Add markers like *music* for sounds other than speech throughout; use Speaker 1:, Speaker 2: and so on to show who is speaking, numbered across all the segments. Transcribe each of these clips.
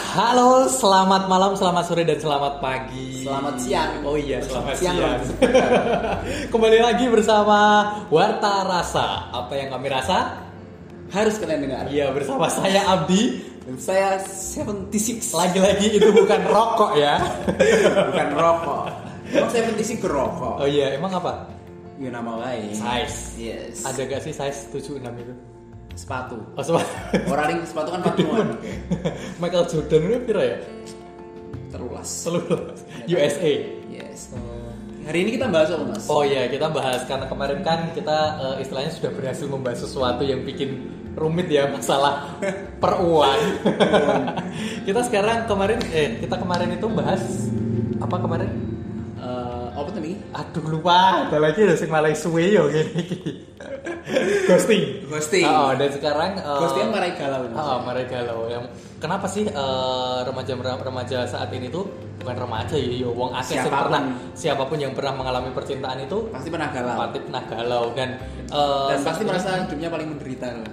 Speaker 1: Halo, selamat malam, selamat sore, dan selamat pagi.
Speaker 2: Selamat siang.
Speaker 1: Oh iya, selamat,
Speaker 2: Selamat siang,
Speaker 1: siang. *laughs* Kembali lagi bersama Warta Rasa. Apa yang kami rasa?
Speaker 2: Harus kalian dengar.
Speaker 1: Iya, bersama saya Abdi.
Speaker 2: Dan saya 76
Speaker 1: Lagi-lagi itu bukan *laughs* rokok ya.
Speaker 2: bukan rokok. Emang 76 rokok.
Speaker 1: Oh iya, emang apa?
Speaker 2: Ya nama lain.
Speaker 1: Size.
Speaker 2: Yes.
Speaker 1: Ada gak sih size 76 itu?
Speaker 2: sepatu.
Speaker 1: Oh, sama.
Speaker 2: Orang ring sepatu kan 41.
Speaker 1: *laughs* Michael Jordan itu pira ya?
Speaker 2: Terulas.
Speaker 1: Seluruh USA.
Speaker 2: Yes. Hari ini kita bahas apa, Mas?
Speaker 1: Oh iya, kita bahas karena kemarin kan kita eh, istilahnya sudah berhasil membahas sesuatu yang bikin rumit ya masalah *laughs* peruan.
Speaker 2: Iya.
Speaker 1: kita sekarang kemarin eh kita kemarin itu bahas apa kemarin?
Speaker 2: Eh, apa tuh nih?
Speaker 1: Aduh lupa, ada lagi ada sing malah suwe yo gini. Ghosting.
Speaker 2: Ghosting.
Speaker 1: Oh, dan sekarang eh,
Speaker 2: Ghosting marai galau. Mas.
Speaker 1: Ah, mereka loh yang kenapa sih eh, remaja remaja saat ini tuh bukan remaja ya, yo wong akeh sing
Speaker 2: Siapapun.
Speaker 1: pernah siapapun yang pernah mengalami percintaan itu
Speaker 2: Pasti pernah galau.
Speaker 1: Pati pernah nah galau dan eh,
Speaker 2: Dan pasti
Speaker 1: saat-
Speaker 2: merasa hidupnya paling menderita. loh.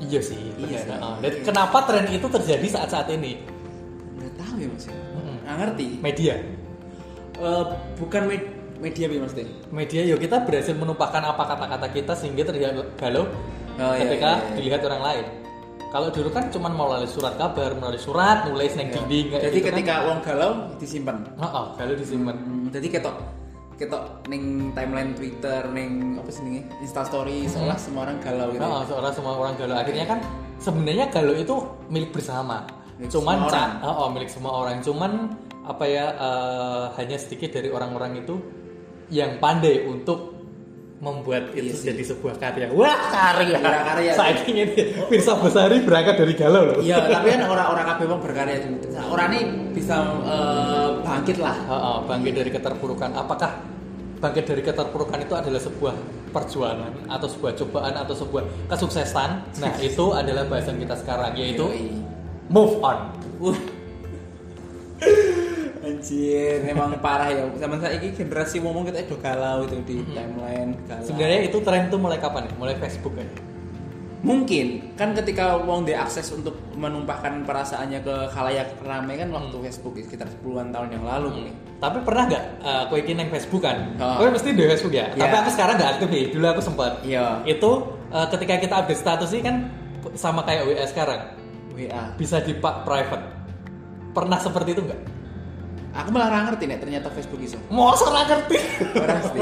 Speaker 1: iya sih
Speaker 2: Iya
Speaker 1: benar.
Speaker 2: sih.
Speaker 1: Heeh. dan kenapa tren itu terjadi saat saat ini
Speaker 2: Nggak tahu ya, Mas.
Speaker 1: Mm-mm.
Speaker 2: Nggak ngerti.
Speaker 1: media
Speaker 2: Eh, bukan med- media ya, Mas. Denny?
Speaker 1: media yo kita berhasil menumpahkan apa kata kata kita sehingga terlihat galau
Speaker 2: Oh, iya,
Speaker 1: ketika
Speaker 2: iya, iya.
Speaker 1: dilihat orang lain kalau dulu kan cuman melalui surat kabar melalui surat nulis neng dinding kayak
Speaker 2: Iya. Jadi
Speaker 1: gitu kan.
Speaker 2: ketika uang galau disimpan.
Speaker 1: Heeh, galau disimpan
Speaker 2: jadi ketok ketok neng timeline Twitter neng apa sih nih Insta Story
Speaker 1: Hmm.
Speaker 2: seolah semua orang galau gitu.
Speaker 1: Nah, seorang semua orang galau akhirnya kan sebenarnya galau itu milik bersama.
Speaker 2: Milik
Speaker 1: cuman
Speaker 2: semua
Speaker 1: ca- oh, oh, milik semua orang. Cuman apa ya eh, hanya sedikit dari orang-orang itu yang pandai untuk membuat itu jadi sebuah karya. Wah, karya.
Speaker 2: Iya, karya.
Speaker 1: Saya ingin Pirsa Besari berangkat dari galau loh.
Speaker 2: Iya, tapi kan orang-orang kabeh wong berkarya juga. Nah, Orang ini bisa eh, bangkit lah.
Speaker 1: *laughs* Oh, oh, bangkit dari keterpurukan. Apakah bangkit dari keterpurukan itu adalah sebuah perjuangan atau sebuah cobaan atau sebuah kesuksesan?
Speaker 2: *laughs*
Speaker 1: Nah, itu adalah bahasan kita sekarang yaitu
Speaker 2: Yoi.
Speaker 1: move on.
Speaker 2: Wah. Anjir, memang parah ya. Zaman saya ini generasi ngomong kita udah galau itu di timeline galau.
Speaker 1: Hmm. Sebenarnya itu tren tuh mulai kapan? ya? Mulai Facebook kan?
Speaker 2: mungkin kan ketika wong dia akses untuk menumpahkan perasaannya ke khalayak ramai kan waktu
Speaker 1: Hmm.
Speaker 2: Facebook sekitar 10-an tahun yang lalu mungkin.
Speaker 1: Tapi pernah nggak uh, kue kini yang Facebook kan?
Speaker 2: Oh.
Speaker 1: Kue mesti di Facebook ya.
Speaker 2: Iya.
Speaker 1: Tapi aku sekarang nggak aktif nih. Dulu aku sempat.
Speaker 2: Iya.
Speaker 1: Itu uh, ketika kita update status ini kan sama kayak WA sekarang.
Speaker 2: WA.
Speaker 1: Bisa dipak private. Pernah seperti itu nggak?
Speaker 2: Aku malah nggak ngerti nih ternyata Facebook iso.
Speaker 1: Mau orang ngerti. *laughs*
Speaker 2: Ora ngerti.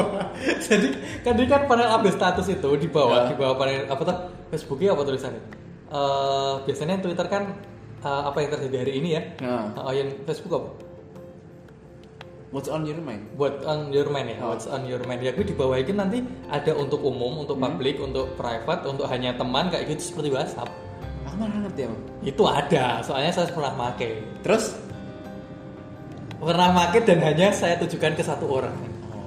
Speaker 1: Jadi kan dia kan panel update status itu di bawah
Speaker 2: Ya.
Speaker 1: di bawah panel apa tuh Facebooknya apa tulisannya? Eh, biasanya Twitter kan eh, apa yang terjadi hari ini ya?
Speaker 2: Nah,
Speaker 1: Oh, yang Facebook apa?
Speaker 2: what's on your mind?
Speaker 1: What on your mind ya? What's on your mind? Ya, gue di bawah ini nanti ada untuk umum, untuk publik, untuk private, untuk hanya teman kayak gitu seperti WhatsApp.
Speaker 2: Aku malah nggak ngerti ya.
Speaker 1: Itu ada, soalnya saya pernah make.
Speaker 2: Terus?
Speaker 1: Pernah make dan hanya saya tujukan ke satu orang.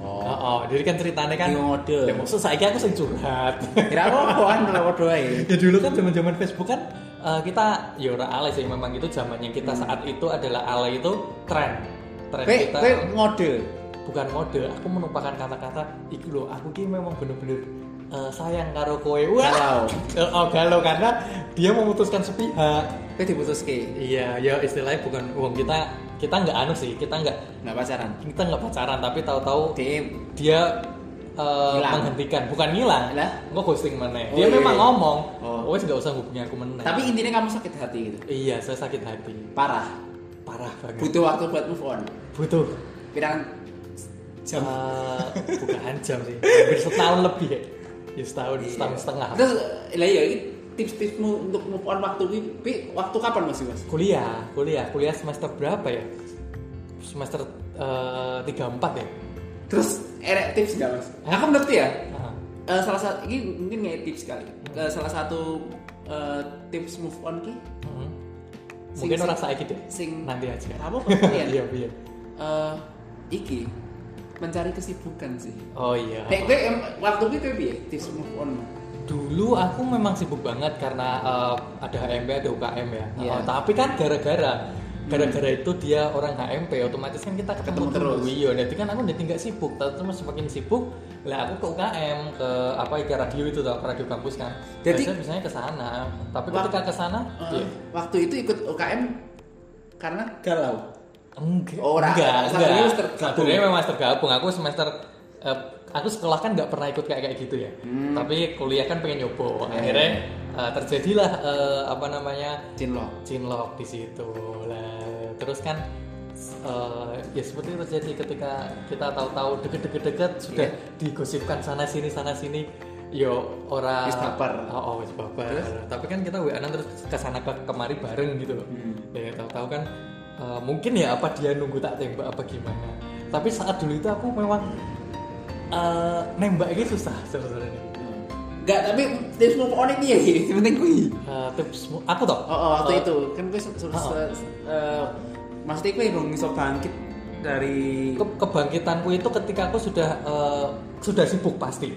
Speaker 2: Oh. Iya.
Speaker 1: Oh, oh. jadi kan ceritanya kan.
Speaker 2: Ini ngode.
Speaker 1: Ya, maksud saya aku sing curhat. *laughs*
Speaker 2: Kira kan aku apaan lah waduh ae.
Speaker 1: ya dulu kan zaman-zaman Facebook kan eh, kita ya ora alay sih memang itu zamannya kita saat itu adalah alay itu tren. Tren
Speaker 2: Kowe
Speaker 1: kita.
Speaker 2: kowe ngode.
Speaker 1: bukan mode aku menumpahkan kata-kata iki lho aku ki memang bener-bener eh, sayang karo kowe
Speaker 2: Galau.
Speaker 1: wah Eh, oh galau karena dia memutuskan sepihak
Speaker 2: Kowe diputuske.
Speaker 1: iya ya istilahnya bukan uang kita kita nggak anu sih kita nggak
Speaker 2: Enggak pacaran.
Speaker 1: kita nggak pacaran tapi tahu-tahu
Speaker 2: Dim.
Speaker 1: dia eh,
Speaker 2: Hilang.
Speaker 1: menghentikan bukan ngilang
Speaker 2: Lah?
Speaker 1: nggak ghosting meneh
Speaker 2: Oh,
Speaker 1: dia
Speaker 2: iya,
Speaker 1: memang
Speaker 2: iya.
Speaker 1: ngomong
Speaker 2: Oh.
Speaker 1: wes nggak usah hubungi aku meneh
Speaker 2: Tapi intinya kamu sakit hati gitu.
Speaker 1: iya saya sakit hati
Speaker 2: Parah.
Speaker 1: parah banget
Speaker 2: Butuh waktu buat move on.
Speaker 1: butuh
Speaker 2: Pirang jam.
Speaker 1: Eh, bukan jam sih hampir setahun lebih ya Ya, setahun
Speaker 2: Iya.
Speaker 1: setahun setengah
Speaker 2: Terus lah ya ini tips-tipsmu untuk move on waktu ini, Pi, waktu kapan masih Mas?
Speaker 1: kuliah kuliah kuliah semester berapa ya semester tiga empat ya
Speaker 2: Terus erek tips enggak Mas? Aku ngerti ya.
Speaker 1: Nah,
Speaker 2: Eh, salah satu ini mungkin nggak tips kali. Eh, salah satu eh, tips move on ki
Speaker 1: mm.
Speaker 2: Sing-
Speaker 1: mungkin
Speaker 2: sing-
Speaker 1: orang saya gitu
Speaker 2: sing-
Speaker 1: nanti aja
Speaker 2: kamu *laughs* kalian
Speaker 1: iya iya
Speaker 2: Eh, iki mencari kesibukan sih.
Speaker 1: oh iya
Speaker 2: Nek gue em, waktu itu gue piye ya, tips move on.
Speaker 1: dulu aku memang sibuk banget karena eh, ada HMP ada UKM ya
Speaker 2: Iya. Hmm.
Speaker 1: Eh, tapi kan gara-gara gara-gara itu dia orang HMP otomatis kan kita ketemu,
Speaker 2: Ketemu terus.
Speaker 1: dulu. iya jadi kan aku udah tinggal sibuk tapi terus semakin sibuk lah aku ke UKM ke apa ke radio itu tau, ke radio kampus kan
Speaker 2: Jadi-
Speaker 1: jadi biasanya ke sana tapi
Speaker 2: Wak-
Speaker 1: ketika ke sana
Speaker 2: Eh,
Speaker 1: iya.
Speaker 2: Waktu itu ikut UKM karena galau.
Speaker 1: Enggak.
Speaker 2: Oh, Ora.
Speaker 1: enggak,
Speaker 2: Satunya
Speaker 1: enggak.
Speaker 2: wis tergabung.
Speaker 1: Satunya memang tergabung. Aku semester eh, aku sekolah kan nggak pernah ikut kayak kayak gitu ya.
Speaker 2: Hmm.
Speaker 1: Tapi kuliah kan pengen nyoba. Akhirnya eh, terjadilah eh, apa namanya
Speaker 2: Cinlok.
Speaker 1: cinlok di situ lah. Terus kan eh, ya seperti itu terjadi ketika kita tahu-tahu deket-deket-deket sudah
Speaker 2: Iya.
Speaker 1: digosipkan sana sini sana sini. Yo ora
Speaker 2: Wis baper.
Speaker 1: Oh, oh wis baper. Tapi kan kita wa terus ke sana ke kemari bareng gitu loh.
Speaker 2: Hmm.
Speaker 1: Ya tahu-tahu kan eh, mungkin ya apa dia nunggu tak tembak apa gimana. Tapi saat dulu itu aku memang eh, nembak ini susah sebetulnya.
Speaker 2: Enggak, Hmm. tapi tips move on ini ya, *laughs* yang penting kui.
Speaker 1: Eh, tips mu- aku toh.
Speaker 2: Oh, oh waktu itu kan gue sur- sur-
Speaker 1: oh.
Speaker 2: sur- eh, maksudnya gue belum bisa bangkit dari
Speaker 1: Ke- kebangkitanku itu ketika aku sudah eh, sudah sibuk pasti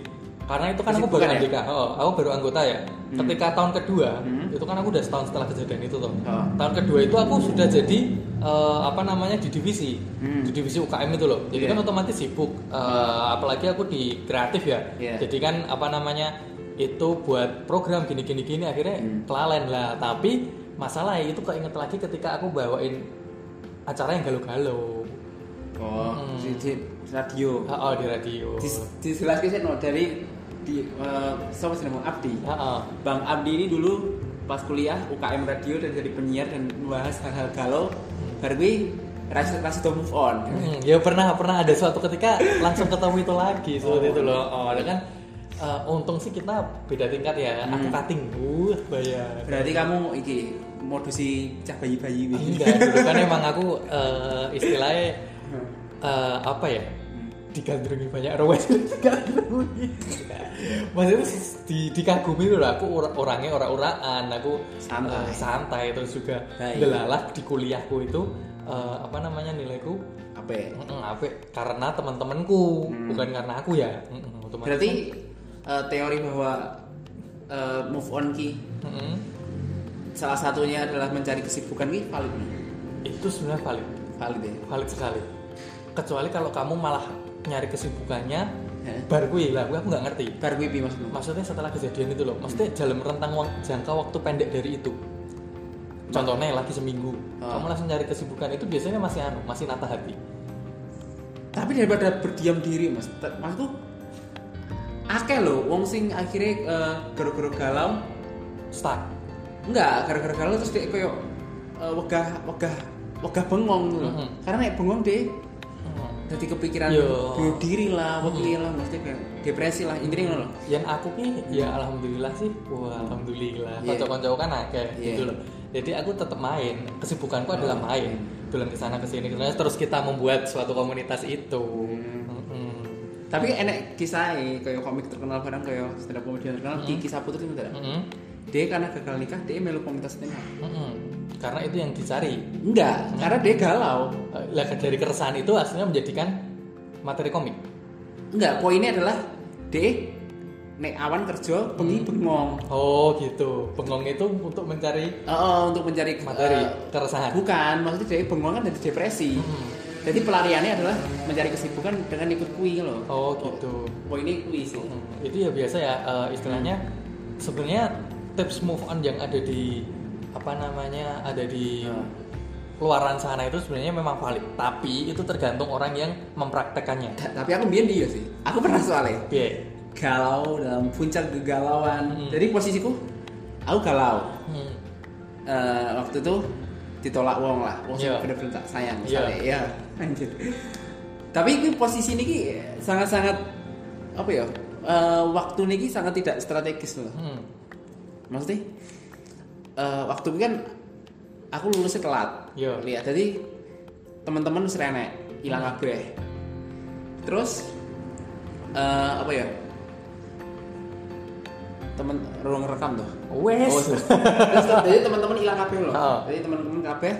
Speaker 1: karena itu kan aku baru
Speaker 2: Kesibukan ya? Hmm.
Speaker 1: anggota oh, aku baru anggota ya ketika tahun kedua itu kan aku udah setahun setelah kejadian itu tuh
Speaker 2: Oh.
Speaker 1: tahun kedua itu aku sudah jadi eh, apa namanya di divisi di divisi UKM itu loh jadi
Speaker 2: Hmm. Iya.
Speaker 1: kan otomatis sibuk Eh, apalagi aku di kreatif ya
Speaker 2: Iya.
Speaker 1: jadi kan apa namanya itu buat program gini gini gini akhirnya
Speaker 2: Hmm.
Speaker 1: kelalen lah tapi masalahnya itu keinget lagi ketika aku bawain acara yang galau-galau
Speaker 2: oh
Speaker 1: Hmm.
Speaker 2: di, di radio.
Speaker 1: Oh, di radio.
Speaker 2: Di, di jelas sih no dari di eh, siapa sih namanya Abdi.
Speaker 1: Heeh.
Speaker 2: Bang Abdi ini dulu pas kuliah UKM radio dan jadi penyiar dan membahas hal-hal galau. Baru gue rasa rasa to move on.
Speaker 1: Hmm, ya pernah pernah ada suatu ketika langsung ketemu itu lagi seperti itu loh. Oh, ada kan eh, untung sih kita beda tingkat ya. Aku
Speaker 2: Hmm.
Speaker 1: kating, uh, bayar.
Speaker 2: Berarti kamu iki modusi cah bayi-bayi
Speaker 1: *laughs*
Speaker 2: ini.
Speaker 1: Enggak, dulu kan emang aku eh, istilahnya eh, apa ya? digandrungi banyak orang *laughs* digandrungi maksudnya di, dikagumi loh aku ora- orangnya ora-oraan aku
Speaker 2: Santai.
Speaker 1: eh, santai terus juga
Speaker 2: Baik.
Speaker 1: delalah di kuliahku itu eh, apa namanya nilaiku
Speaker 2: Apa? ya?
Speaker 1: Mm-mm, apik. karena teman-temanku bukan karena aku ya Mm-mm, otomatis
Speaker 2: Hmm. Berarti eh, teori bahwa eh, move on ki
Speaker 1: Mm-mm.
Speaker 2: salah satunya adalah mencari kesibukan ki valid nih.
Speaker 1: itu sebenarnya valid
Speaker 2: Valid ya.
Speaker 1: valid sekali kecuali kalau kamu malah nyari kesibukannya
Speaker 2: Heh.
Speaker 1: baru gue lah gue aku nggak ngerti
Speaker 2: Baru gue maksudmu.
Speaker 1: maksudnya setelah kejadian itu loh maksudnya dalam rentang wak- jangka waktu pendek dari itu contohnya lagi seminggu
Speaker 2: Ah.
Speaker 1: kamu langsung nyari kesibukan itu biasanya masih anu masih nata hati
Speaker 2: Tapi daripada berdiam diri mas, Te- maksudku akeh loh wong sing akhirnya eh, gara-gara galau
Speaker 1: stuck
Speaker 2: Enggak, gara-gara galau terus dia kayak eh, wegah wegah wegah bengong gitu loh.
Speaker 1: Mhm.
Speaker 2: Karena nek bengong deh
Speaker 1: Mm.
Speaker 2: jadi kepikiran
Speaker 1: Yo.
Speaker 2: bunuh diri lah, wedi lah, maksudnya kayak depresi lah, intinya ngono loh.
Speaker 1: yang aku ki ya alhamdulillah sih wah alhamdulillah
Speaker 2: Hmm. Iya.
Speaker 1: kocok-kocok kan akeh
Speaker 2: Iya. Hmm.
Speaker 1: gitu loh jadi aku tetap main kesibukanku adalah main dolan ke sana ke sini ke sana. terus kita membuat suatu komunitas itu
Speaker 2: Hmm.
Speaker 1: Mm-mm.
Speaker 2: Tapi enek kisahnya kayak komik terkenal barang kayak stand up comedian terkenal Kiki Saputri itu enggak.
Speaker 1: Mm-mm.
Speaker 2: Dia karena gagal nikah, dia melu komunitas stand up.
Speaker 1: Mm-mm. karena itu yang dicari
Speaker 2: Enggak, karena dia galau.
Speaker 1: Eh, lah dari keresahan itu akhirnya menjadikan materi komik
Speaker 2: Enggak, poinnya adalah dia nek awan kerja bengi bengong.
Speaker 1: oh gitu bengong itu untuk mencari
Speaker 2: Eh, eh, untuk mencari
Speaker 1: materi
Speaker 2: eh,
Speaker 1: keresahan
Speaker 2: Bukan, maksudnya dari bengong kan dari depresi. Jadi pelariannya adalah mencari kesibukan dengan ikut kui loh.
Speaker 1: oh gitu
Speaker 2: Poin ini kui sih.
Speaker 1: Hmm, itu ya biasa ya eh, istilahnya sebenarnya tips move on yang ada di apa namanya ada di
Speaker 2: Hmm.
Speaker 1: luaran sana itu sebenarnya memang valid tapi itu tergantung orang yang mempraktekannya
Speaker 2: Da- tapi aku biar dia sih. Aku pernah soalnya
Speaker 1: Oke.
Speaker 2: galau dalam puncak kegalauan. Jadi posisiku aku galau.
Speaker 1: Hmm.
Speaker 2: Eh, waktu itu ditolak wong lah, wong sing
Speaker 1: Iya.
Speaker 2: bener-bener tak sayang
Speaker 1: Iya.
Speaker 2: misalnya. Iya. Anjir. Tapi ini posisi ini sangat-sangat apa ya? Eh, waktu ini sangat tidak strategis loh.
Speaker 1: Hmm.
Speaker 2: maksudnya eh waktu itu kan aku lulusnya telat
Speaker 1: Iya. Hmm.
Speaker 2: lihat jadi teman-teman serenek hilang kabeh terus eh apa ya temen ruang rekam tuh
Speaker 1: Wes.
Speaker 2: Oh, terus, terus, jadi teman-teman hilang kabeh loh
Speaker 1: Oh.
Speaker 2: jadi teman-teman kabeh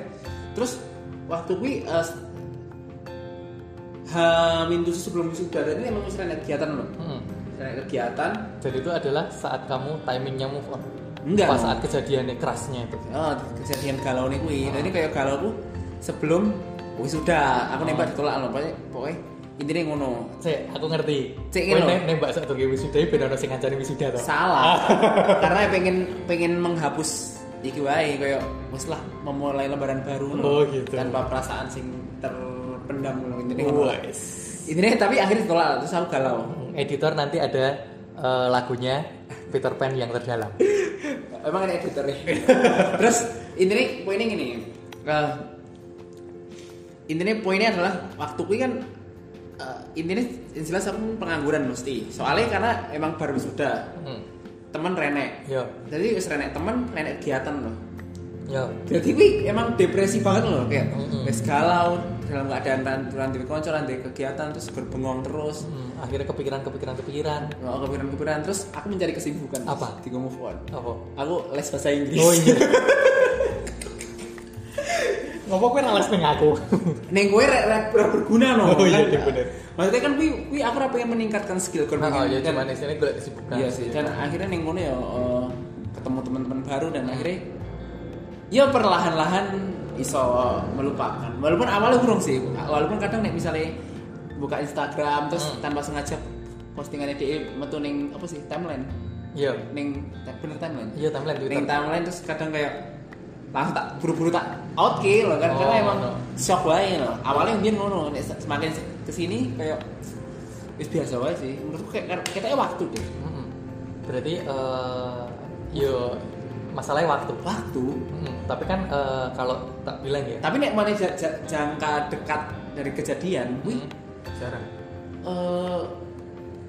Speaker 2: terus waktu kui eh Hamin tuh sebelum sudah jadi emang serenek kegiatan loh
Speaker 1: Hmm.
Speaker 2: serenek kegiatan
Speaker 1: jadi itu adalah saat kamu timingnya move on
Speaker 2: Enggak.
Speaker 1: pas saat kejadiannya kerasnya itu
Speaker 2: Oh, kejadian galau nih kuwi. Jadi kayak galau ku sebelum wis sudah aku nembak ditolak loh pokoknya, pokoknya intinya ngono.
Speaker 1: Cek, aku ngerti.
Speaker 2: Cek,
Speaker 1: Kowe
Speaker 2: ngono.
Speaker 1: ne- nembak saat
Speaker 2: *laughs*
Speaker 1: wisuda ben ono sing ngajari wisuda to.
Speaker 2: Salah. Karena pengen pengen ya menghapus iki wae koyo wis lah memulai lebaran baru ngono.
Speaker 1: Oh, gitu. Oh,
Speaker 2: Tanpa perasaan sing terpendam ngono intine ngono.
Speaker 1: Wes.
Speaker 2: Intine tapi akhirnya ditolak terus aku galau.
Speaker 1: Hmm, Editor nanti ada eh, lagunya Peter Pan yang terdalam.
Speaker 2: Emang ada editor nih. *laughs* Terus intinya poinnya gini. eh, intinya poinnya adalah waktu kuwi kan eh, intinya yang jelas aku pengangguran mesti. Soalnya karena emang baru sudah
Speaker 1: Hmm.
Speaker 2: temen renek.
Speaker 1: Yo,
Speaker 2: Jadi wis renek temen renek kegiatan loh.
Speaker 1: yo.
Speaker 2: Jadi kuwi emang depresi banget loh kayak
Speaker 1: Mm-mm.
Speaker 2: wis galau dalam keadaan tanturan di konco di kegiatan terus berbengong terus.
Speaker 1: Hmm, akhirnya kepikiran kepikiran kepikiran.
Speaker 2: Nggak kepikiran-kepikiran terus aku mencari kesibukan.
Speaker 1: Apa?
Speaker 2: Tiga move on.
Speaker 1: Apa?
Speaker 2: Aku les bahasa Inggris.
Speaker 1: Oh iya. Ngapa kue nalas nih aku?
Speaker 2: Neng gue rek rek rek berguna no.
Speaker 1: Oh, iya,
Speaker 2: Kan,
Speaker 1: iya, bener.
Speaker 2: Maksudnya kan kui kui aku ra pengen meningkatkan skill kan.
Speaker 1: Oh iya,
Speaker 2: kan,
Speaker 1: cuman istilahnya gue kesibukan.
Speaker 2: Iya sih. Dan akhirnya neng ngono ya eh, ketemu teman-teman baru dan akhirnya ya perlahan-lahan iso melupakan. Walaupun awalnya kurang sih. Walaupun kadang nek misalnya buka Instagram terus
Speaker 1: Hmm.
Speaker 2: tanpa sengaja postingannya dia metu neng apa sih timeline.
Speaker 1: Iya,
Speaker 2: Neng bener timeline.
Speaker 1: iya timeline Twitter.
Speaker 2: Neng timeline terus kadang kayak langsung tak buru-buru tak out ke loh kan karena
Speaker 1: Oh,
Speaker 2: emang
Speaker 1: no.
Speaker 2: shock wae loh. Awalnya mungkin ngono nek semakin kesini kayak wis biasa wae sih. Menurutku kayak kita waktu deh.
Speaker 1: Mm-mm. Hmm, Berarti eh yo masalahnya waktu.
Speaker 2: Waktu.
Speaker 1: Mm, Tapi kan eh, kalau tak bilang ya.
Speaker 2: Tapi nek mana ja- ja- jangka dekat dari kejadian, wih
Speaker 1: Mm, jarang.
Speaker 2: eh,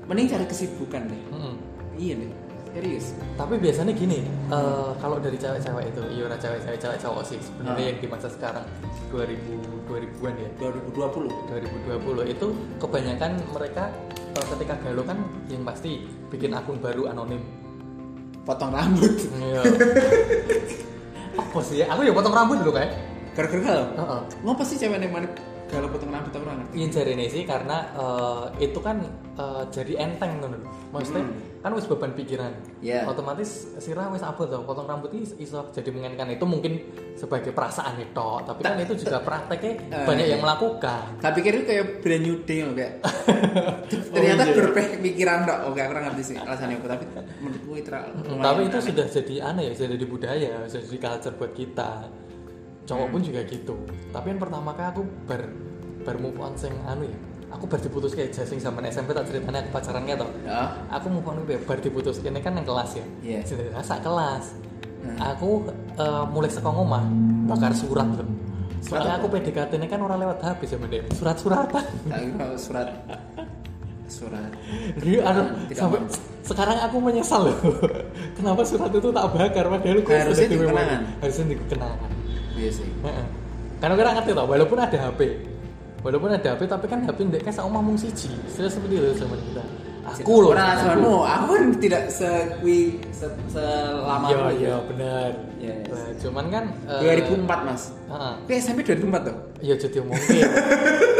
Speaker 2: mending cari kesibukan deh.
Speaker 1: Mm-mm.
Speaker 2: Iya deh. Serius.
Speaker 1: Hmm, tapi biasanya gini eh, kalau dari cewek-cewek itu iya orang cewek-cewek cewek cowok sih sebenarnya
Speaker 2: Ah.
Speaker 1: yang di masa sekarang 2000 2000-an ya
Speaker 2: 2020.
Speaker 1: 2020 itu kebanyakan mereka eh, ketika galau kan yang pasti bikin akun baru anonim
Speaker 2: Potong rambut. *laughs*
Speaker 1: *laughs* iya apa sih ya? aku ya potong rambut dulu kayak
Speaker 2: Gara-gara galau.
Speaker 1: Heeh.
Speaker 2: Ngapa sih cewek yang mana galau potong rambut aku ora ngerti.
Speaker 1: Yang jarene sih karena eh, itu kan eh, jadi enteng ngono lho. Maksudnya kan wis beban pikiran.
Speaker 2: Hmm. Iya.
Speaker 1: Otomatis sirah wis abot to, potong rambut ini iso jadi mengenkan itu mungkin sebagai perasaan itu, tapi kan itu juga prakteknya
Speaker 2: Nah. Eh.
Speaker 1: banyak yang melakukan.
Speaker 2: Tak pikir itu kayak brand new day loh
Speaker 1: *laughs*
Speaker 2: kayak. *laughs* Ternyata
Speaker 1: iya.
Speaker 2: berpeh pikiran dok. Oke, aku kurang ngerti sih alasannya apa tapi menurutku itu ra- lumayan
Speaker 1: Hmm, Tapi itu
Speaker 2: aneh.
Speaker 1: sudah jadi aneh ya, sudah jadi budaya, sudah jadi culture buat kita. Cowok
Speaker 2: Hmm.
Speaker 1: pun juga gitu. Tapi yang pertama kali aku ber ber move on sing anu ya. Aku bar diputus kayak jasing sama SMP tak ceritanya aku pacarannya toh.
Speaker 2: Ya.
Speaker 1: aku mau on ya, bar diputus ini kan yang kelas ya
Speaker 2: Iya. Hmm.
Speaker 1: Jadi rasa kelas aku eh, mulai sekolah omah bakar surat loh soalnya aku PDKT ini kan orang lewat HP sama dia surat-suratan
Speaker 2: Tak kira surat surat.
Speaker 1: Iya, aduh,
Speaker 2: Tidak
Speaker 1: sampai
Speaker 2: mampu.
Speaker 1: sekarang aku menyesal loh *laughs* kenapa surat itu tak bakar padahal gue
Speaker 2: Harusnya
Speaker 1: sudah di
Speaker 2: dikenangan.
Speaker 1: memori. harusnya dikenangan
Speaker 2: Iya sih.
Speaker 1: Heeh. karena kita ngerti tau walaupun ada HP walaupun ada HP tapi kan HP ndek kan sama mung siji Istilah seperti itu zaman kita aku loh
Speaker 2: Orang
Speaker 1: aku.
Speaker 2: alasanmu, aku kan tidak sekui se selama
Speaker 1: Iya,
Speaker 2: itu.
Speaker 1: iya, bener.
Speaker 2: Iya, iya.
Speaker 1: Nah, cuman kan eh,
Speaker 2: 2004 mas.
Speaker 1: heeh.
Speaker 2: Tapi SMP 2004 tuh.
Speaker 1: Iya, jadi mungkin.
Speaker 2: *laughs*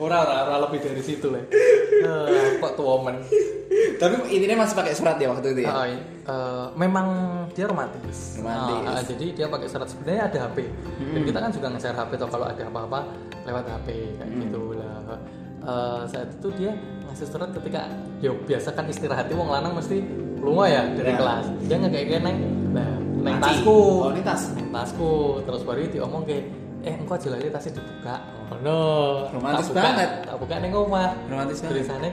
Speaker 1: Ora ora ora lebih dari situ lah. Eh, kok tua men.
Speaker 2: Tapi intinya masih pakai surat ya waktu itu ya.
Speaker 1: Ah, iya. Eh, memang dia romantis.
Speaker 2: Romantis. Hmm.
Speaker 1: Ah, ah, jadi dia pakai surat sebenarnya ada HP. Dan kita kan juga nge-share HP atau kalau ada apa-apa lewat HP kayak
Speaker 2: Hmm.
Speaker 1: gitu lah. Eh, saat itu dia ngasih surat ketika yo biasa kan istirahat wong lanang mesti lunga ya dari
Speaker 2: Ya.
Speaker 1: kelas. Dia ngekek neng nah, neng
Speaker 2: Laci.
Speaker 1: tasku.
Speaker 2: Oh ini tas.
Speaker 1: tasku terus baru diomong ke eh engkau jelali tasnya dibuka oh no
Speaker 2: Romantis
Speaker 1: tak buka,
Speaker 2: banget.
Speaker 1: tak buka neng omah
Speaker 2: Romantis banget.
Speaker 1: tulisannya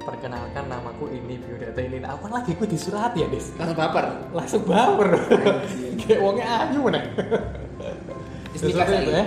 Speaker 1: perkenalkan namaku ini biodata ini nah, aku lagi gue disurat ya des
Speaker 2: Langsung baper.
Speaker 1: langsung baper *laughs* kayak wongnya ayu nih
Speaker 2: Terus ya?
Speaker 1: Terus apa
Speaker 2: nikah lagi? Oh,
Speaker 1: itu, eh?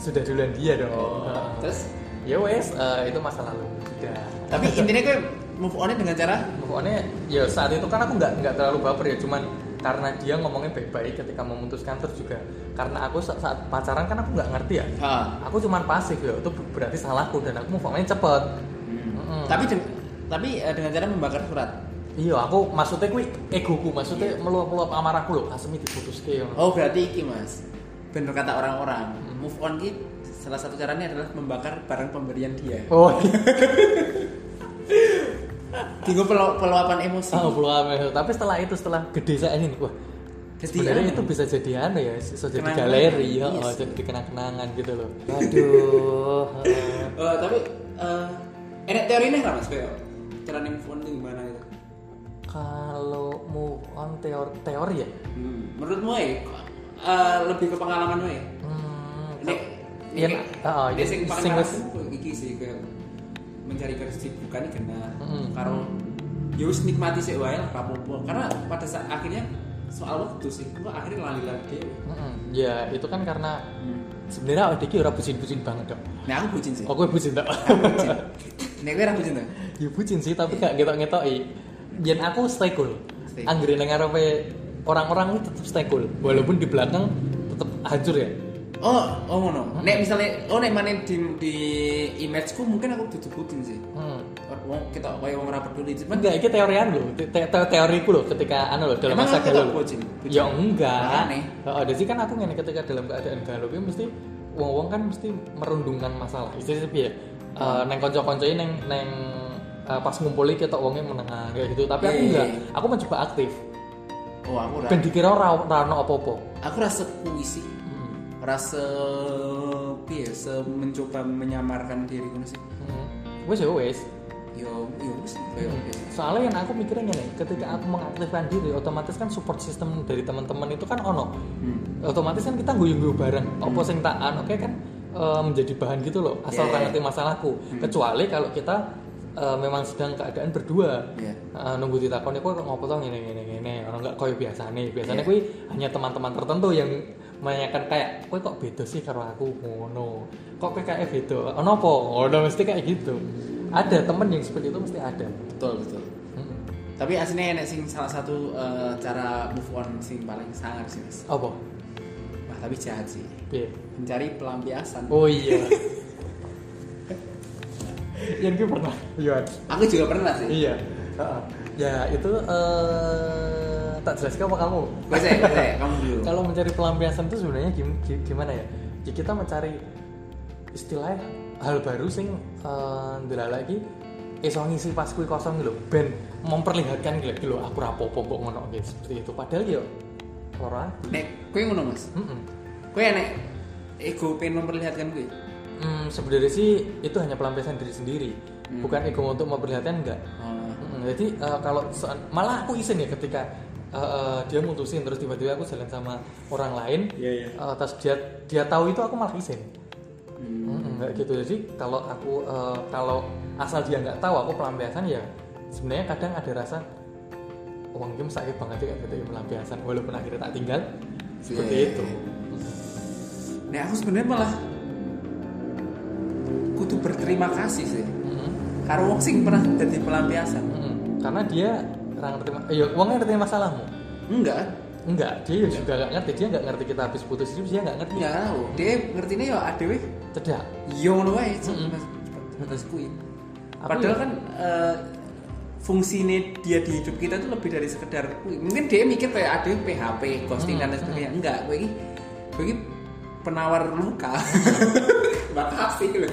Speaker 1: sudah duluan dia dong *laughs*
Speaker 2: Terus.
Speaker 1: ya wes eh, itu masa lalu sudah
Speaker 2: *laughs* Tapi intinya gue move onnya dengan cara
Speaker 1: pokoknya ya saat itu kan aku nggak nggak terlalu baper ya cuman karena dia ngomongnya baik-baik ketika memutuskan terus juga karena aku sa- saat pacaran kan aku nggak ngerti ya
Speaker 2: Ah.
Speaker 1: aku cuman pasif ya itu ber- berarti salahku dan aku move on-nya cepet
Speaker 2: Hmm.
Speaker 1: Mm-mm.
Speaker 2: Tapi den- tapi eh, dengan cara membakar surat.
Speaker 1: iya aku maksudnya kui egoku
Speaker 2: Iya.
Speaker 1: maksudnya meluap-meluap amarahku loh asmi diputus ke
Speaker 2: Oh berarti iki mas. Bener kata orang-orang. Move on ki salah satu caranya adalah membakar barang pemberian dia. *laughs*
Speaker 1: oh
Speaker 2: iya.
Speaker 1: *laughs*
Speaker 2: Tiga pelu- peluapan emosi.
Speaker 1: oh, belum ya. tapi setelah itu setelah gede saya ini wah
Speaker 2: Jadi
Speaker 1: sebenarnya
Speaker 2: anu.
Speaker 1: itu bisa jadi anu ya bisa jadi
Speaker 2: Kenangan.
Speaker 1: galeri ya
Speaker 2: Iya
Speaker 1: oh,
Speaker 2: sih.
Speaker 1: jadi kenang-kenangan gitu loh aduh eh.
Speaker 2: Eh, tapi eh gitu? enak teorinya nggak mas Beo? Cara move on itu gimana itu?
Speaker 1: *laughs* Kalau move on on teori teori ya
Speaker 2: Hmm. Menurut Moe, eh, lebih ke pengalaman Moe.
Speaker 1: hmm,
Speaker 2: Nek,
Speaker 1: Iya,
Speaker 2: nek-
Speaker 1: ah, ah,
Speaker 2: nek
Speaker 1: iya, sing
Speaker 2: sing pengalaman
Speaker 1: wis-
Speaker 2: kok iki sih kayak mencari kesibukan iki kena
Speaker 1: Mm-mm.
Speaker 2: karo ya wis nikmati sik wae lah rapopo. Karena pada saat akhirnya soal waktu sih, gua akhirnya lali lali dhewe.
Speaker 1: Mm-mm. ya itu kan karena sebenarnya awak iki ora bucin-bucin banget dong
Speaker 2: Nah, aku bucin sih.
Speaker 1: oh gue bucin tak
Speaker 2: Aku *laughs* bucin. Nek kowe ra bucin ta?
Speaker 1: ya bucin sih tapi gak ngetok-ngetoki biar aku stay cool
Speaker 2: Stay cool.
Speaker 1: anggere nang ngarepe orang-orang itu tetap stay cool walaupun di belakang tetap hancur ya
Speaker 2: Oh, oh ngono. Nek misalnya oh nek mana di di image ku mungkin aku duduk bucin sih.
Speaker 1: hmm.
Speaker 2: Oh, Wong kita koyo wong ora peduli cuman
Speaker 1: enggak ini teorian lo te te te- teoriku loh ketika anu loh dalam
Speaker 2: Emang
Speaker 1: masa
Speaker 2: aku
Speaker 1: galau
Speaker 2: tak
Speaker 1: lho.
Speaker 2: bucin? Bucin?
Speaker 1: ya enggak
Speaker 2: Makanya.
Speaker 1: oh, jadi kan aku ngene ketika dalam keadaan galau ya mesti wong-wong kan mesti merundungkan masalah istilahnya piye Eh, neng konco-konco ini neng neng eh, pas ngumpulin kita wongnya menengah kayak gitu tapi aku
Speaker 2: Iya,
Speaker 1: enggak
Speaker 2: iya, iya.
Speaker 1: aku mencoba aktif
Speaker 2: oh aku ora.
Speaker 1: dan dikira ra ra ono apa-apa
Speaker 2: Aku rasa puisi.
Speaker 1: Hmm.
Speaker 2: Rasa piye se mencoba menyamarkan diri ngono sih.
Speaker 1: Hmm. Wes ya wes.
Speaker 2: Yo yo wis koyo
Speaker 1: Soalnya yang aku mikirnya gini, ketika aku mengaktifkan diri, otomatis kan support system dari teman-teman itu kan ono. Otomatis kan kita guyung-guyung bareng. Apa sing tak anu kayak kan eh, menjadi bahan gitu loh, asal yeah,
Speaker 2: Iya, iya.
Speaker 1: ngerti masalahku. Kecuali kalau kita eh, memang sedang keadaan berdua.
Speaker 2: Iya.
Speaker 1: Eh, nunggu ditakoni kok ngopo to ngene ngene ngene ono enggak koyo biasane. Biasane
Speaker 2: Iya.
Speaker 1: kuwi hanya teman-teman tertentu yang menanyakan kayak kowe kok beda sih karo aku ngono. Kok kowe kayak beda? Ono apa? Ono mesti kayak gitu. Ada temen yang seperti itu mesti ada. Hmm.
Speaker 2: Betul betul.
Speaker 1: Mm-mm.
Speaker 2: Tapi aslinya enek sing salah satu eh, cara move on sing paling sangar sih. Mas.
Speaker 1: Apa?
Speaker 2: Wah, tapi jahat sih.
Speaker 1: Piye?
Speaker 2: Mencari pelampiasan.
Speaker 1: Oh iya. *laughs* yang gue pernah. Iya.
Speaker 2: Aku juga pernah sih.
Speaker 1: Iya. Heeh. Ya itu eh, tak jelaskan apa kamu.
Speaker 2: Gue sih, gue sih, eh, kamu dulu.
Speaker 1: Kalau mencari pelampiasan itu sebenarnya gim- gi- gimana ya? Ya kita mencari istilahnya hal baru sing eh ndelala iki iso ngisi pas kui kosong gitu ben memperlihatkan gitu loh aku rapopo kok ngono gitu seperti itu padahal ya ora
Speaker 2: Nek, kowe ngono Mas.
Speaker 1: Mm-mm.
Speaker 2: Kowe enek ego pengen memperlihatkan gue.
Speaker 1: Hmm, sebenarnya sih itu hanya pelampiasan diri sendiri
Speaker 2: Hmm.
Speaker 1: bukan ego untuk memperlihatkan enggak
Speaker 2: Oh,
Speaker 1: Mm, Jadi eh, kalau soal- malah aku iseng ya ketika eh, eh, dia mutusin terus tiba-tiba aku jalan sama orang lain,
Speaker 2: Iya, iya.
Speaker 1: eh, terus dia dia tahu itu aku malah iseng.
Speaker 2: Hmm.
Speaker 1: Mm, kayak gitu. Jadi kalau aku eh, kalau asal dia nggak tahu aku pelampiasan ya sebenarnya kadang ada rasa uang game sakit banget ya kayak gitu ya, pelampiasan walaupun akhirnya tak tinggal seperti
Speaker 2: Iya.
Speaker 1: itu.
Speaker 2: Nek Nah, aku sebenarnya malah kudu berterima kasih sih.
Speaker 1: Mm,
Speaker 2: Karo wong sing pernah jadi pelampiasan.
Speaker 1: mm, mm. Karena dia orang ngerti, ma- eh, ya, uangnya ngerti masalahmu.
Speaker 2: Enggak,
Speaker 1: Enggak, dia
Speaker 2: Iya.
Speaker 1: juga nggak ngerti. Dia nggak ngerti kita habis putus hidup, dia nggak ngerti.
Speaker 2: enggak tahu. Dia ngertinya ya adewe
Speaker 1: Cedak.
Speaker 2: yo ngono wae sebatas kuwi. Padahal kan eh, fungsinya dia di hidup kita tuh lebih dari sekedar kuwi. Mungkin dia mikir kayak ah, adewe PHP, ghosting dan lain sebagainya. Enggak, gue ini gue ini penawar luka. Makasih loh.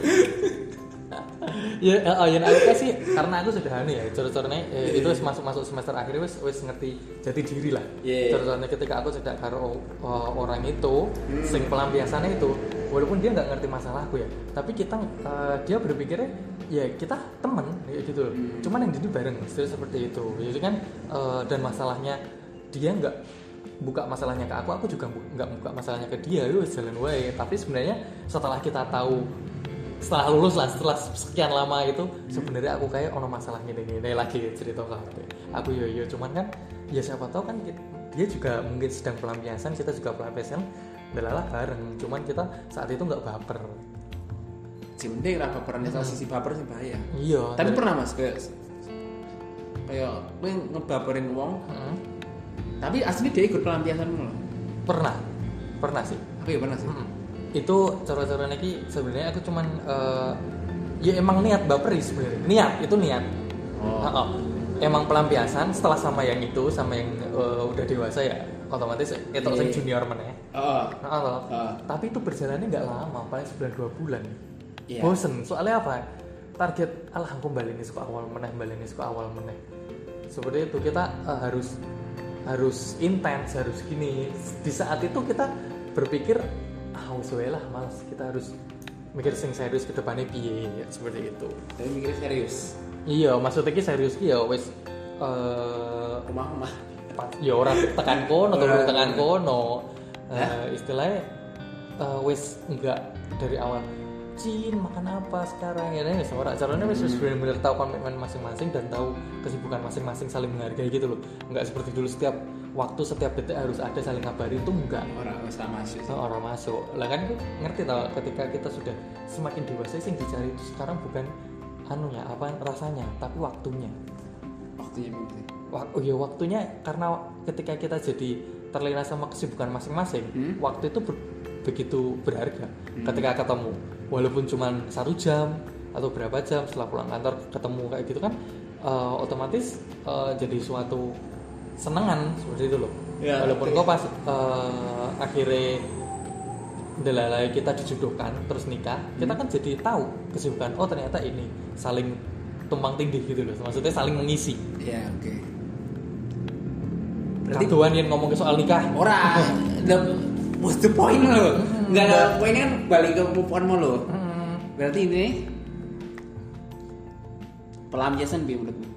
Speaker 1: ya oh, yang aku sih karena aku sederhana ya coro-corone eh, itu wis masuk masuk semester akhir wis wis ngerti jati diri lah
Speaker 2: Iya.
Speaker 1: coro-corone ketika aku cedak karo eh, orang itu sing pelampiasannya itu walaupun dia nggak ngerti masalahku ya tapi kita eh, dia berpikirnya ya kita temen ya gitu loh cuman yang jadi bareng still seperti itu jadi kan eh, dan masalahnya dia nggak buka masalahnya ke aku aku juga bu- nggak buka masalahnya ke dia yuk jalan wae tapi sebenarnya setelah kita tahu setelah lulus lah setelah sekian lama itu sebenarnya aku kayak ono masalah gini gini lagi cerita kabeh aku yo yo cuman kan ya siapa tahu kan ki- dia juga mungkin sedang pelampiasan kita juga pelampiasan adalah bareng cuman kita saat itu nggak baper
Speaker 2: Jemde ora baperan salah sisi baper sih bahaya.
Speaker 1: iya
Speaker 2: Tapi pernah Mas kayak kayak gue ngebaperin wong,
Speaker 1: Mm,
Speaker 2: tapi aslinya dia ikut pelampiasan loh.
Speaker 1: pernah pernah sih
Speaker 2: Aku ya pernah sih.
Speaker 1: Mm, itu cara-cara lagi sebenarnya aku cuman eh, ya emang niat baper sih sebenarnya niat itu niat
Speaker 2: Oh.
Speaker 1: Oh, oh. Emang pelampiasan setelah sama yang itu sama yang eh, udah dewasa ya otomatis itu
Speaker 2: Iya.
Speaker 1: sing junior meneh.
Speaker 2: Oh.
Speaker 1: Heeh toh.
Speaker 2: Heeh.
Speaker 1: Tapi itu berjalannya nggak lama, paling sebulan dua bulan.
Speaker 2: Iya.
Speaker 1: Bosen. Soalnya apa? Target alah aku balik ini suka awal meneh, balik ini suka awal meneh. Seperti itu kita eh, harus harus intens, harus gini. Di saat itu kita berpikir ah wes wae lah, males kita harus mikir sing serius ke depannya piye ya, seperti itu.
Speaker 2: Tapi mikirnya serius.
Speaker 1: Iya, maksudnya ki serius ki ya wis eh
Speaker 2: Rumah rumah.
Speaker 1: ya orang tekan kono atau
Speaker 2: Ora.
Speaker 1: tekan kono Eh,
Speaker 2: Hah?
Speaker 1: istilahnya eh, wis enggak dari awal Cin makan apa sekarang ya nih seorang caranya wis wis benar-benar tahu komitmen masing-masing dan tahu kesibukan masing-masing saling menghargai gitu loh nggak seperti dulu setiap waktu setiap detik harus ada saling ngabarin itu enggak
Speaker 2: orang usah masuk sih.
Speaker 1: So, orang masuk lah kan aku ngerti tau ketika kita sudah semakin dewasa sih yang dicari itu sekarang bukan anunya apa rasanya tapi waktunya
Speaker 2: waktunya begitu
Speaker 1: Wak- oh ya waktunya karena ketika kita jadi terlena sama kesibukan masing-masing
Speaker 2: Hmm.
Speaker 1: waktu itu ber- begitu berharga ketika ketemu walaupun cuma satu jam atau berapa jam setelah pulang kantor ketemu kayak gitu kan eh, otomatis eh, jadi suatu senengan seperti itu loh
Speaker 2: Ya,
Speaker 1: walaupun
Speaker 2: betul.
Speaker 1: kok pas eh, akhirnya Delalai kita dijodohkan terus nikah,
Speaker 2: Hmm?
Speaker 1: kita kan jadi tahu kesibukan. Oh ternyata ini saling tumpang tindih gitu loh. Maksudnya saling mengisi.
Speaker 2: ya oke
Speaker 1: Berarti Tuhan yang ngomong ke soal nikah.
Speaker 2: orang the what's the point lo nggak ada poinnya kan balik ke perempuan mau lo berarti ini pelampiasan bi menurutmu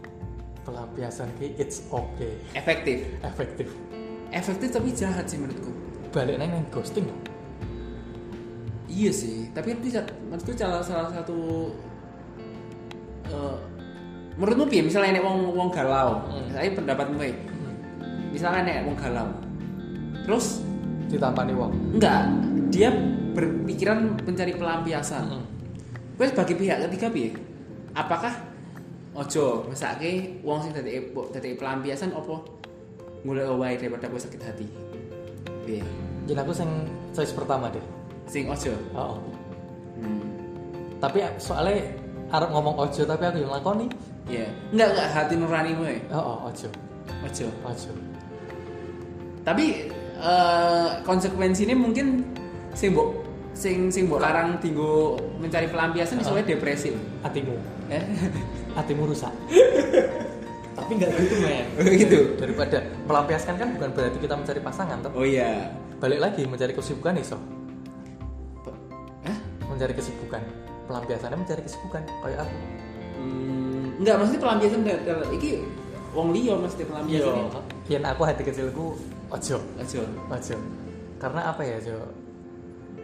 Speaker 1: Pelampiasan ki it's okay,
Speaker 2: efektif
Speaker 1: efektif.
Speaker 2: efektif tapi jahat sih menurutku
Speaker 1: Balik nang nang ghosting. loh.
Speaker 2: iya sih tapi kan bisa menurutku salah salah satu eh, menurutmu bi misalnya nek wong wong galau
Speaker 1: Hmm.
Speaker 2: saya pendapatmu ya misalnya nek wong galau terus
Speaker 1: Ditampani wong.
Speaker 2: enggak dia berpikiran mencari pelampiasan
Speaker 1: Mm.
Speaker 2: Wes bagi pihak ketiga piye? Apakah ojo mesake wong sing dadi dadi pelampiasan apa golek wae daripada kowe sakit hati? Piye?
Speaker 1: Jadi aku sing choice pertama deh.
Speaker 2: Sing ojo.
Speaker 1: Oh.
Speaker 2: Hmm.
Speaker 1: Tapi soalnya Arab ngomong ojo tapi aku yang lakoni.
Speaker 2: Iya. Enggak enggak hati nuranimu ya.
Speaker 1: Oh, oh ojo,
Speaker 2: Ojo.
Speaker 1: ojo.
Speaker 2: Tapi eh konsekuensinya mungkin sing mbok sing sing mbok larang tinggu mencari pelampiasan iso wae depresi. lho.
Speaker 1: Hatimu,
Speaker 2: Eh.
Speaker 1: hatimu rusak. tapi nggak gitu men.
Speaker 2: Oh, *laughs* gitu.
Speaker 1: Daripada melampiaskan kan bukan berarti kita mencari pasangan. toh.
Speaker 2: Oh iya.
Speaker 1: Balik lagi mencari kesibukan iso.
Speaker 2: Pe- Hah?
Speaker 1: Mencari kesibukan. Pelampiasannya mencari kesibukan. Kayak aku.
Speaker 2: Hmm, enggak maksudnya pelampiasan dal- dal- iki wong liya mesti
Speaker 1: Iya.
Speaker 2: pelampiasan. ya?
Speaker 1: Yen aku hati kecilku ojo,
Speaker 2: Ojo.
Speaker 1: ojo. Karena apa ya, Jo?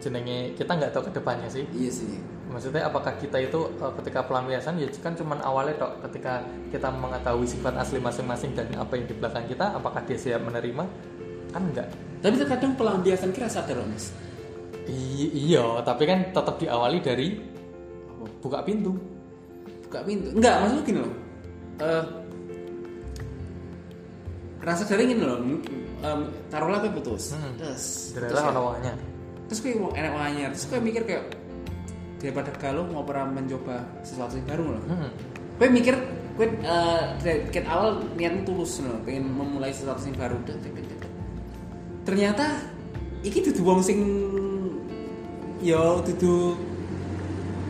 Speaker 1: Jenenge kita nggak tahu kedepannya sih.
Speaker 2: Iya sih.
Speaker 1: Maksudnya apakah kita itu eh, ketika pelampiasan ya kan cuman awalnya tok ketika kita mengetahui sifat asli masing-masing dan apa yang di belakang kita apakah dia siap menerima kan enggak
Speaker 2: Tapi terkadang pelampiasan kira sadar loh, Mas.
Speaker 1: I- iya tapi kan tetap diawali dari buka pintu
Speaker 2: Buka pintu. Enggak, maksudnya gini loh. Eh rasa sadar gini loh. Em, taruhlah kowe putus.
Speaker 1: Hmm.
Speaker 2: Terus.
Speaker 1: dari
Speaker 2: putus ya.
Speaker 1: lah awalnya
Speaker 2: Terus kowe wong enak wanyar. Terus kowe mikir kayak daripada galau mau pernah mencoba sesuatu yang baru loh.
Speaker 1: hmm.
Speaker 2: Kowe mikir kowe eh dari- dari awal niatnya tulus loh, pengen memulai sesuatu yang baru. Dek, dek, dek, dek, dek. Ternyata iki dudu wong sing yo dudu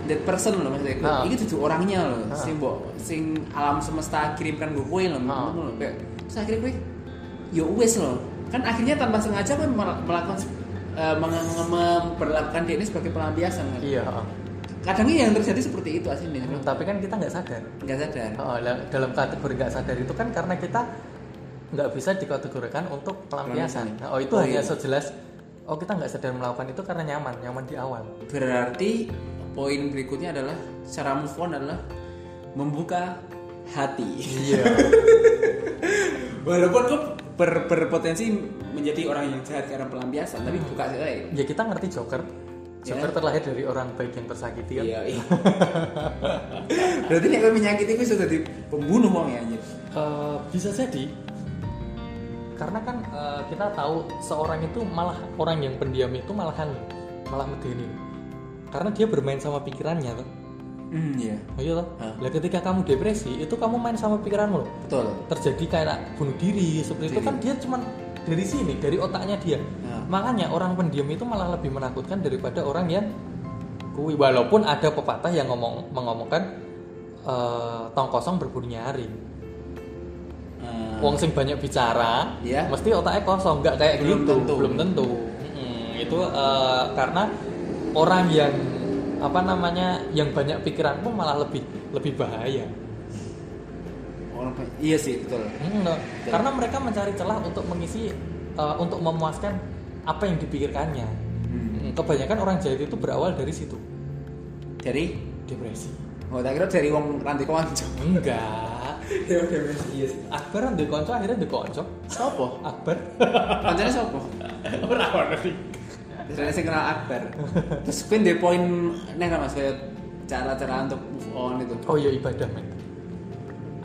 Speaker 2: that person loh maksudnya.
Speaker 1: Nah.
Speaker 2: Iki dudu orangnya loh,
Speaker 1: Nah.
Speaker 2: sing mbok sing alam semesta kirimkan gue kowe loh,
Speaker 1: Nah.
Speaker 2: menurutmu loh. Kayak, Terus akhirnya kowe yo wes loh. Kan akhirnya tanpa sengaja kan melakukan eh, meng- memperlakukan dia ini sebagai pelampiasan kan.
Speaker 1: iya heeh.
Speaker 2: Kadangnya yang terjadi seperti itu aslinya.
Speaker 1: Hmm, tapi kan kita nggak sadar
Speaker 2: Enggak sadar.
Speaker 1: Heeh, Oh, lah, dalam kategori nggak sadar itu kan karena kita nggak bisa dikategorikan untuk pelampiasan
Speaker 2: Pelampiasan.
Speaker 1: oh itu
Speaker 2: Oh,
Speaker 1: hanya
Speaker 2: iya.
Speaker 1: sejelas oh kita nggak sadar melakukan itu karena nyaman nyaman di awal
Speaker 2: Berarti poin berikutnya adalah cara move on adalah membuka hati.
Speaker 1: iya
Speaker 2: Walaupun lu ber- berpotensi menjadi orang yang jahat karena pelampiasan, tapi buka hati aja.
Speaker 1: *laughs* ya kita ngerti Joker Joker
Speaker 2: Ya.
Speaker 1: terlahir dari orang baik yang tersakiti kan?
Speaker 2: Iya. iya. *laughs* Berarti nek kowe menyakiti gue sudah di pembunuh wong ya anjir.
Speaker 1: Eh, bisa jadi karena kan eh, kita tahu seorang itu malah orang yang pendiam itu malahan malah medeni karena dia bermain sama pikirannya tuh
Speaker 2: Hmm, iya.
Speaker 1: iya toh?
Speaker 2: Hah.
Speaker 1: Lah ketika kamu depresi itu kamu main sama pikiranmu loh.
Speaker 2: Betul.
Speaker 1: terjadi kayak bunuh diri seperti itu
Speaker 2: Diri.
Speaker 1: kan dia cuman dari sini dari otaknya dia
Speaker 2: Ya.
Speaker 1: makanya orang pendiam itu malah lebih menakutkan daripada orang yang kui walaupun ada pepatah yang ngomong mengomongkan eh, tong kosong berburu nyari
Speaker 2: Nah. Eh,
Speaker 1: wong sing banyak bicara
Speaker 2: Iya.
Speaker 1: mesti otaknya kosong nggak kayak
Speaker 2: Belum
Speaker 1: gitu
Speaker 2: tentu.
Speaker 1: belum tentu Mm-mm, itu eh, karena orang yang apa namanya yang banyak pikiran pun malah lebih lebih bahaya
Speaker 2: orang banyak. Iya sih, betul.
Speaker 1: Hmm, no. Karena mereka mencari celah untuk mengisi eh, untuk memuaskan apa yang dipikirkannya. Hmm, Kebanyakan orang jahat itu berawal dari situ,
Speaker 2: Dari
Speaker 1: depresi.
Speaker 2: Oh, tak kira dari wong rantai konco.
Speaker 1: Enggak.
Speaker 2: Ya udah *laughs* iya sih.
Speaker 1: Akbar di konco akhirnya di konco.
Speaker 2: Sopo?
Speaker 1: Akbar.
Speaker 2: Kancane sopo?
Speaker 1: Ora ono sih.
Speaker 2: Terus ada sing kenal Akbar. Terus kuwi ndek poin neh kan Mas kayak cara-cara untuk move on itu.
Speaker 1: Oh iya ibadah men.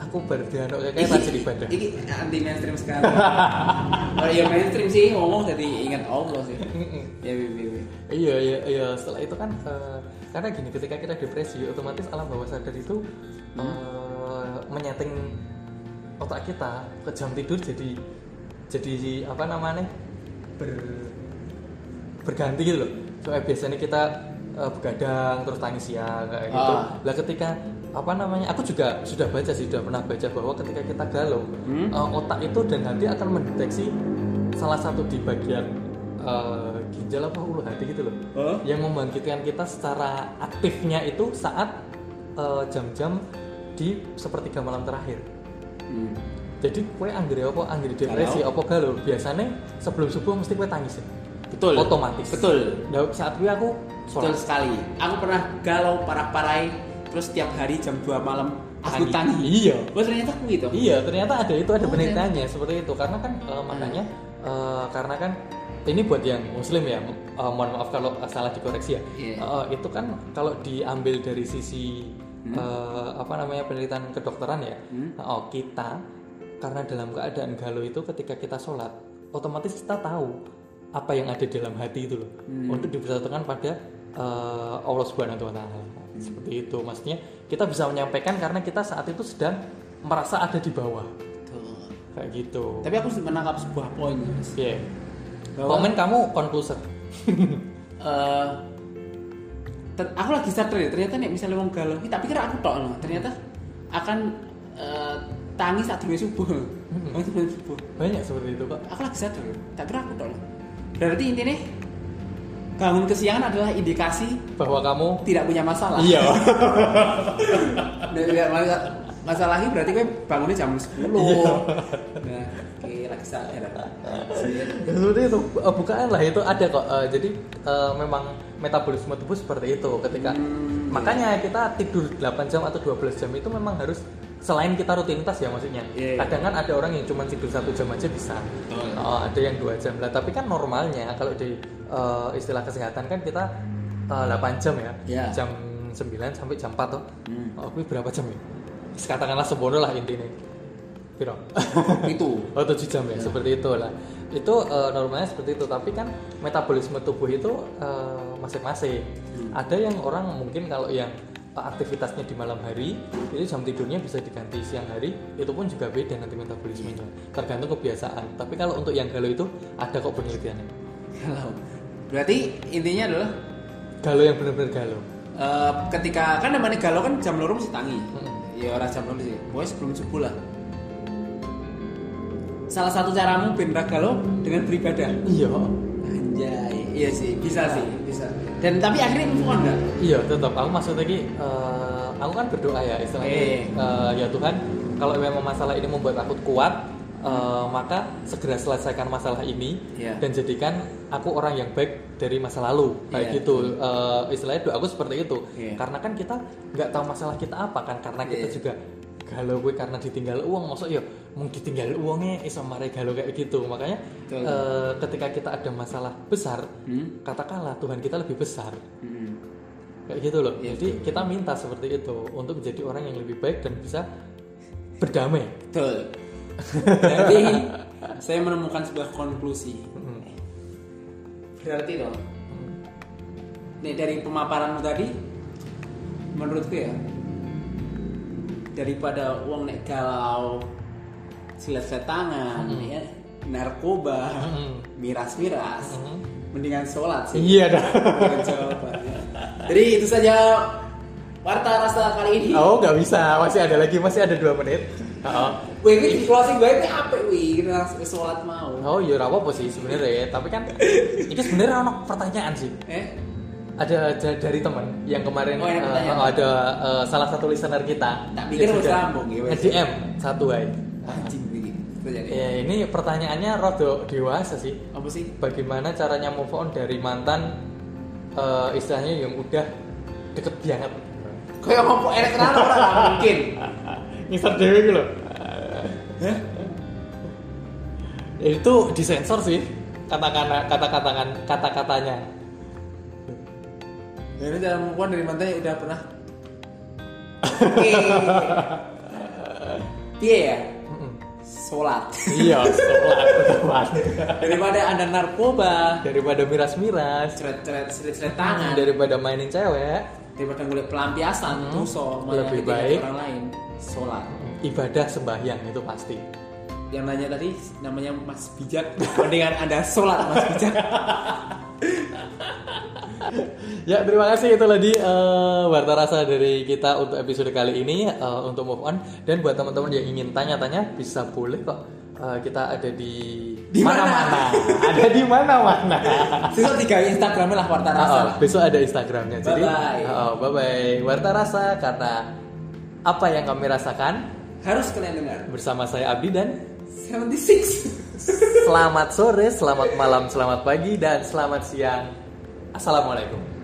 Speaker 1: Aku baru diantuk kayak
Speaker 2: *laughs* Iki-
Speaker 1: kayak rajin ibadah.
Speaker 2: Iki anti mainstream sekali. Kalau yang mainstream sih ngomong jadi ingat Allah sih.
Speaker 1: Mm-mm.
Speaker 2: Ya bi bi bi.
Speaker 1: Iya iya iya setelah itu kan eh, karena gini ketika kita depresi otomatis alam bawah sadar itu
Speaker 2: Hmm.
Speaker 1: eh, menyeting otak kita ke jam tidur jadi jadi apa namanya ber, berganti gitu loh. Soalnya biasanya kita eh, begadang terus tangis siang kayak gitu.
Speaker 2: Ah.
Speaker 1: Lah ketika apa namanya aku juga sudah baca sih sudah pernah baca bahwa ketika kita galau
Speaker 2: Hmm.
Speaker 1: eh, otak itu dan hati akan mendeteksi salah satu di bagian eh, ginjal apa ulu hati gitu loh
Speaker 2: Huh?
Speaker 1: yang membangkitkan kita secara aktifnya itu saat eh, jam-jam di sepertiga malam terakhir
Speaker 2: Hmm.
Speaker 1: jadi kue anggere apa anggere depresi apa galau biasanya sebelum subuh mesti kue tangis ya
Speaker 2: Betul.
Speaker 1: otomatis
Speaker 2: Betul.
Speaker 1: nah, saat gue aku
Speaker 2: Betul
Speaker 1: sholat
Speaker 2: sekali. Aku pernah galau parah-parai terus tiap hari jam 2 malam aku
Speaker 1: Tangi.
Speaker 2: tangi.
Speaker 1: Iya.
Speaker 2: Wah ternyata aku gitu.
Speaker 1: iya ternyata ada itu ada
Speaker 2: Oh,
Speaker 1: penelitiannya seperti itu karena kan eh, makanya eh, karena kan ini buat yang muslim ya eh, mohon maaf kalau salah dikoreksi ya
Speaker 2: Iya.
Speaker 1: Eh, itu kan kalau diambil dari sisi eh, apa namanya penelitian kedokteran ya
Speaker 2: Hmm.
Speaker 1: oh kita karena dalam keadaan galau itu ketika kita sholat otomatis kita tahu apa yang ada dalam hati itu loh
Speaker 2: Hmm.
Speaker 1: untuk dipersatukan pada eh, Allah Subhanahu wa taala.
Speaker 2: Hmm.
Speaker 1: Seperti itu maksudnya kita bisa menyampaikan karena kita saat itu sedang merasa ada di bawah
Speaker 2: Betul.
Speaker 1: kayak gitu.
Speaker 2: Tapi aku menangkap sebuah poin. Mas.
Speaker 1: Yeah.
Speaker 2: Bahwa-
Speaker 1: Komen kamu konkluser.
Speaker 2: eh ter- aku lagi sadar ya ternyata nih misalnya wong galau tapi pikir aku tok loh ternyata akan eh, tangis saat dulu subuh *laughs* Tangis saat subuh
Speaker 1: Banyak seperti itu, Pak.
Speaker 2: aku lagi sadar loh tak kira aku tok loh berarti intinya bangun kesiangan adalah indikasi
Speaker 1: Bahwa kamu
Speaker 2: tidak punya masalah
Speaker 1: Iya.
Speaker 2: *laughs*
Speaker 1: *laughs*
Speaker 2: Dan tidak masa- masalah ini berarti gue bangunnya jam 10 nah oke lagi sadar
Speaker 1: Ya, seperti itu Eh, bukaan lah itu ada kok Eh, jadi eh, memang metabolisme tubuh seperti itu ketika
Speaker 2: Hmm.
Speaker 1: makanya kita tidur 8 jam atau 12 jam itu memang harus selain kita rutinitas ya maksudnya
Speaker 2: Iya, iya.
Speaker 1: kadang kan ada orang yang cuma tidur satu jam aja bisa
Speaker 2: Betul.
Speaker 1: Oh, ada yang dua jam lah tapi kan normalnya kalau di eh, istilah kesehatan kan kita eh, 8 jam ya
Speaker 2: Iya.
Speaker 1: jam 9 sampai jam 4 tuh
Speaker 2: Hmm.
Speaker 1: oh, kuwi berapa jam ya katakanlah sebodoh lah intinya
Speaker 2: *laughs*
Speaker 1: Piro?
Speaker 2: itu
Speaker 1: Oh 7 jam ya, seperti itu lah. Itu eh, normalnya seperti itu, tapi kan metabolisme tubuh itu eh, masing-masing. Ada yang orang mungkin kalau yang eh, aktivitasnya di malam hari itu jam tidurnya bisa diganti siang hari, itu pun juga beda nanti metabolismenya. Tergantung kebiasaan. Tapi kalau untuk yang galau itu ada kok penelitiannya.
Speaker 2: galau berarti intinya adalah
Speaker 1: Galau yang benar-benar galau.
Speaker 2: Eh, ketika kan namanya galau kan jam loro mesti tangi.
Speaker 1: Mm-mm.
Speaker 2: Ya orang jam loro sih. Pokoknya sebelum subuh lah. Salah satu caramu ben ra galau dengan beribadah.
Speaker 1: Iya.
Speaker 2: Anjay. Iya sih, bisa sih, bisa. Dan tapi akhirnya move on enggak?
Speaker 1: Iya tetap. Aku maksudnya lagi, eh, aku kan berdoa ya istilahnya.
Speaker 2: Eh.
Speaker 1: eh, ya Tuhan, kalau memang masalah ini membuat aku kuat, eh, maka segera selesaikan masalah ini
Speaker 2: Iya.
Speaker 1: dan jadikan aku orang yang baik dari masa lalu. Kayak
Speaker 2: Iya.
Speaker 1: gitu. Eh, istilahnya doa aku seperti itu.
Speaker 2: Iya.
Speaker 1: Karena kan kita nggak tahu masalah kita apa kan, karena kita
Speaker 2: Iya.
Speaker 1: juga galau gue karena ditinggal uang maksud ya mau ditinggal uangnya iso mare galau kayak gitu makanya
Speaker 2: Betul.
Speaker 1: eh, ketika kita ada masalah besar
Speaker 2: Hmm.
Speaker 1: katakanlah Tuhan kita lebih besar kayak gitu loh
Speaker 2: Iya,
Speaker 1: jadi kita minta seperti itu untuk menjadi orang yang lebih baik dan bisa berdamai
Speaker 2: Betul. Berarti saya menemukan sebuah konklusi. Berarti dong. Nih dari pemaparanmu tadi, menurutku ya daripada uang nek galau silet-silet tangan, ya, narkoba, miras-miras, mendingan sholat sih.
Speaker 1: iya dah
Speaker 2: Mendingan jawaban, ya. Jadi itu saja warta rasa kali ini.
Speaker 1: oh nggak bisa masih ada lagi masih ada dua menit oh
Speaker 2: Wih, ini closing gue ini apa? Wih, kita langsung sholat mau.
Speaker 1: ya oh iya apa sih sebenarnya tapi kan ini sebenarnya ada pertanyaan sih
Speaker 2: Eh,
Speaker 1: ada, ada dari teman yang kemarin
Speaker 2: Oh,
Speaker 1: eh,
Speaker 2: ada pertanyaan.
Speaker 1: ada eh, salah satu listener kita
Speaker 2: Tak pikir
Speaker 1: yang
Speaker 2: harus
Speaker 1: sudah
Speaker 2: lambung, ya, wes.
Speaker 1: DM satu hari.
Speaker 2: anjing ini itu jadi
Speaker 1: Ya, ini pertanyaannya rada dewasa sih.
Speaker 2: apa sih
Speaker 1: Bagaimana caranya move on dari mantan eh, istilahnya yang udah deket banget?
Speaker 2: kayak ngomong enak kenal orang nggak mungkin
Speaker 1: Mister Dewi gitu loh. Ya, itu disensor sih kata-kata kata-kata kata-katanya.
Speaker 2: ini cara Ya perempuan dari mantan yang udah pernah oke iya ya
Speaker 1: Mm-mm.
Speaker 2: sholat
Speaker 1: Iya, sekolah teman.
Speaker 2: daripada anda narkoba
Speaker 1: Daripada miras-miras,
Speaker 2: ceret-ceret ceret-ceret tangan
Speaker 1: daripada mainin cewek,
Speaker 2: daripada ngulik
Speaker 1: Hmm.
Speaker 2: pelampiasan itu so malah
Speaker 1: Lebih
Speaker 2: ketika
Speaker 1: baik.
Speaker 2: orang lain sholat
Speaker 1: ibadah sembahyang itu pasti.
Speaker 2: yang nanya tadi namanya Mas Bijak mendingan anda sholat Mas Bijak
Speaker 1: Ya, terima kasih itu tadi eh, warta rasa dari kita untuk episode kali ini eh, untuk move on dan buat teman-teman yang ingin tanya-tanya bisa boleh kok. Eh, kita ada di
Speaker 2: Di mana?
Speaker 1: ada di mana-mana.
Speaker 2: season tiga Instagramnya lah warta rasa
Speaker 1: Oh,
Speaker 2: lah
Speaker 1: besok ada Instagramnya. Jadi,
Speaker 2: Bye-bye.
Speaker 1: bye bye. Warta rasa karena apa yang kami rasakan
Speaker 2: harus kalian dengar
Speaker 1: bersama saya Abdi dan
Speaker 2: 76
Speaker 1: selamat sore, selamat malam, selamat pagi dan selamat siang. Assalamualaikum.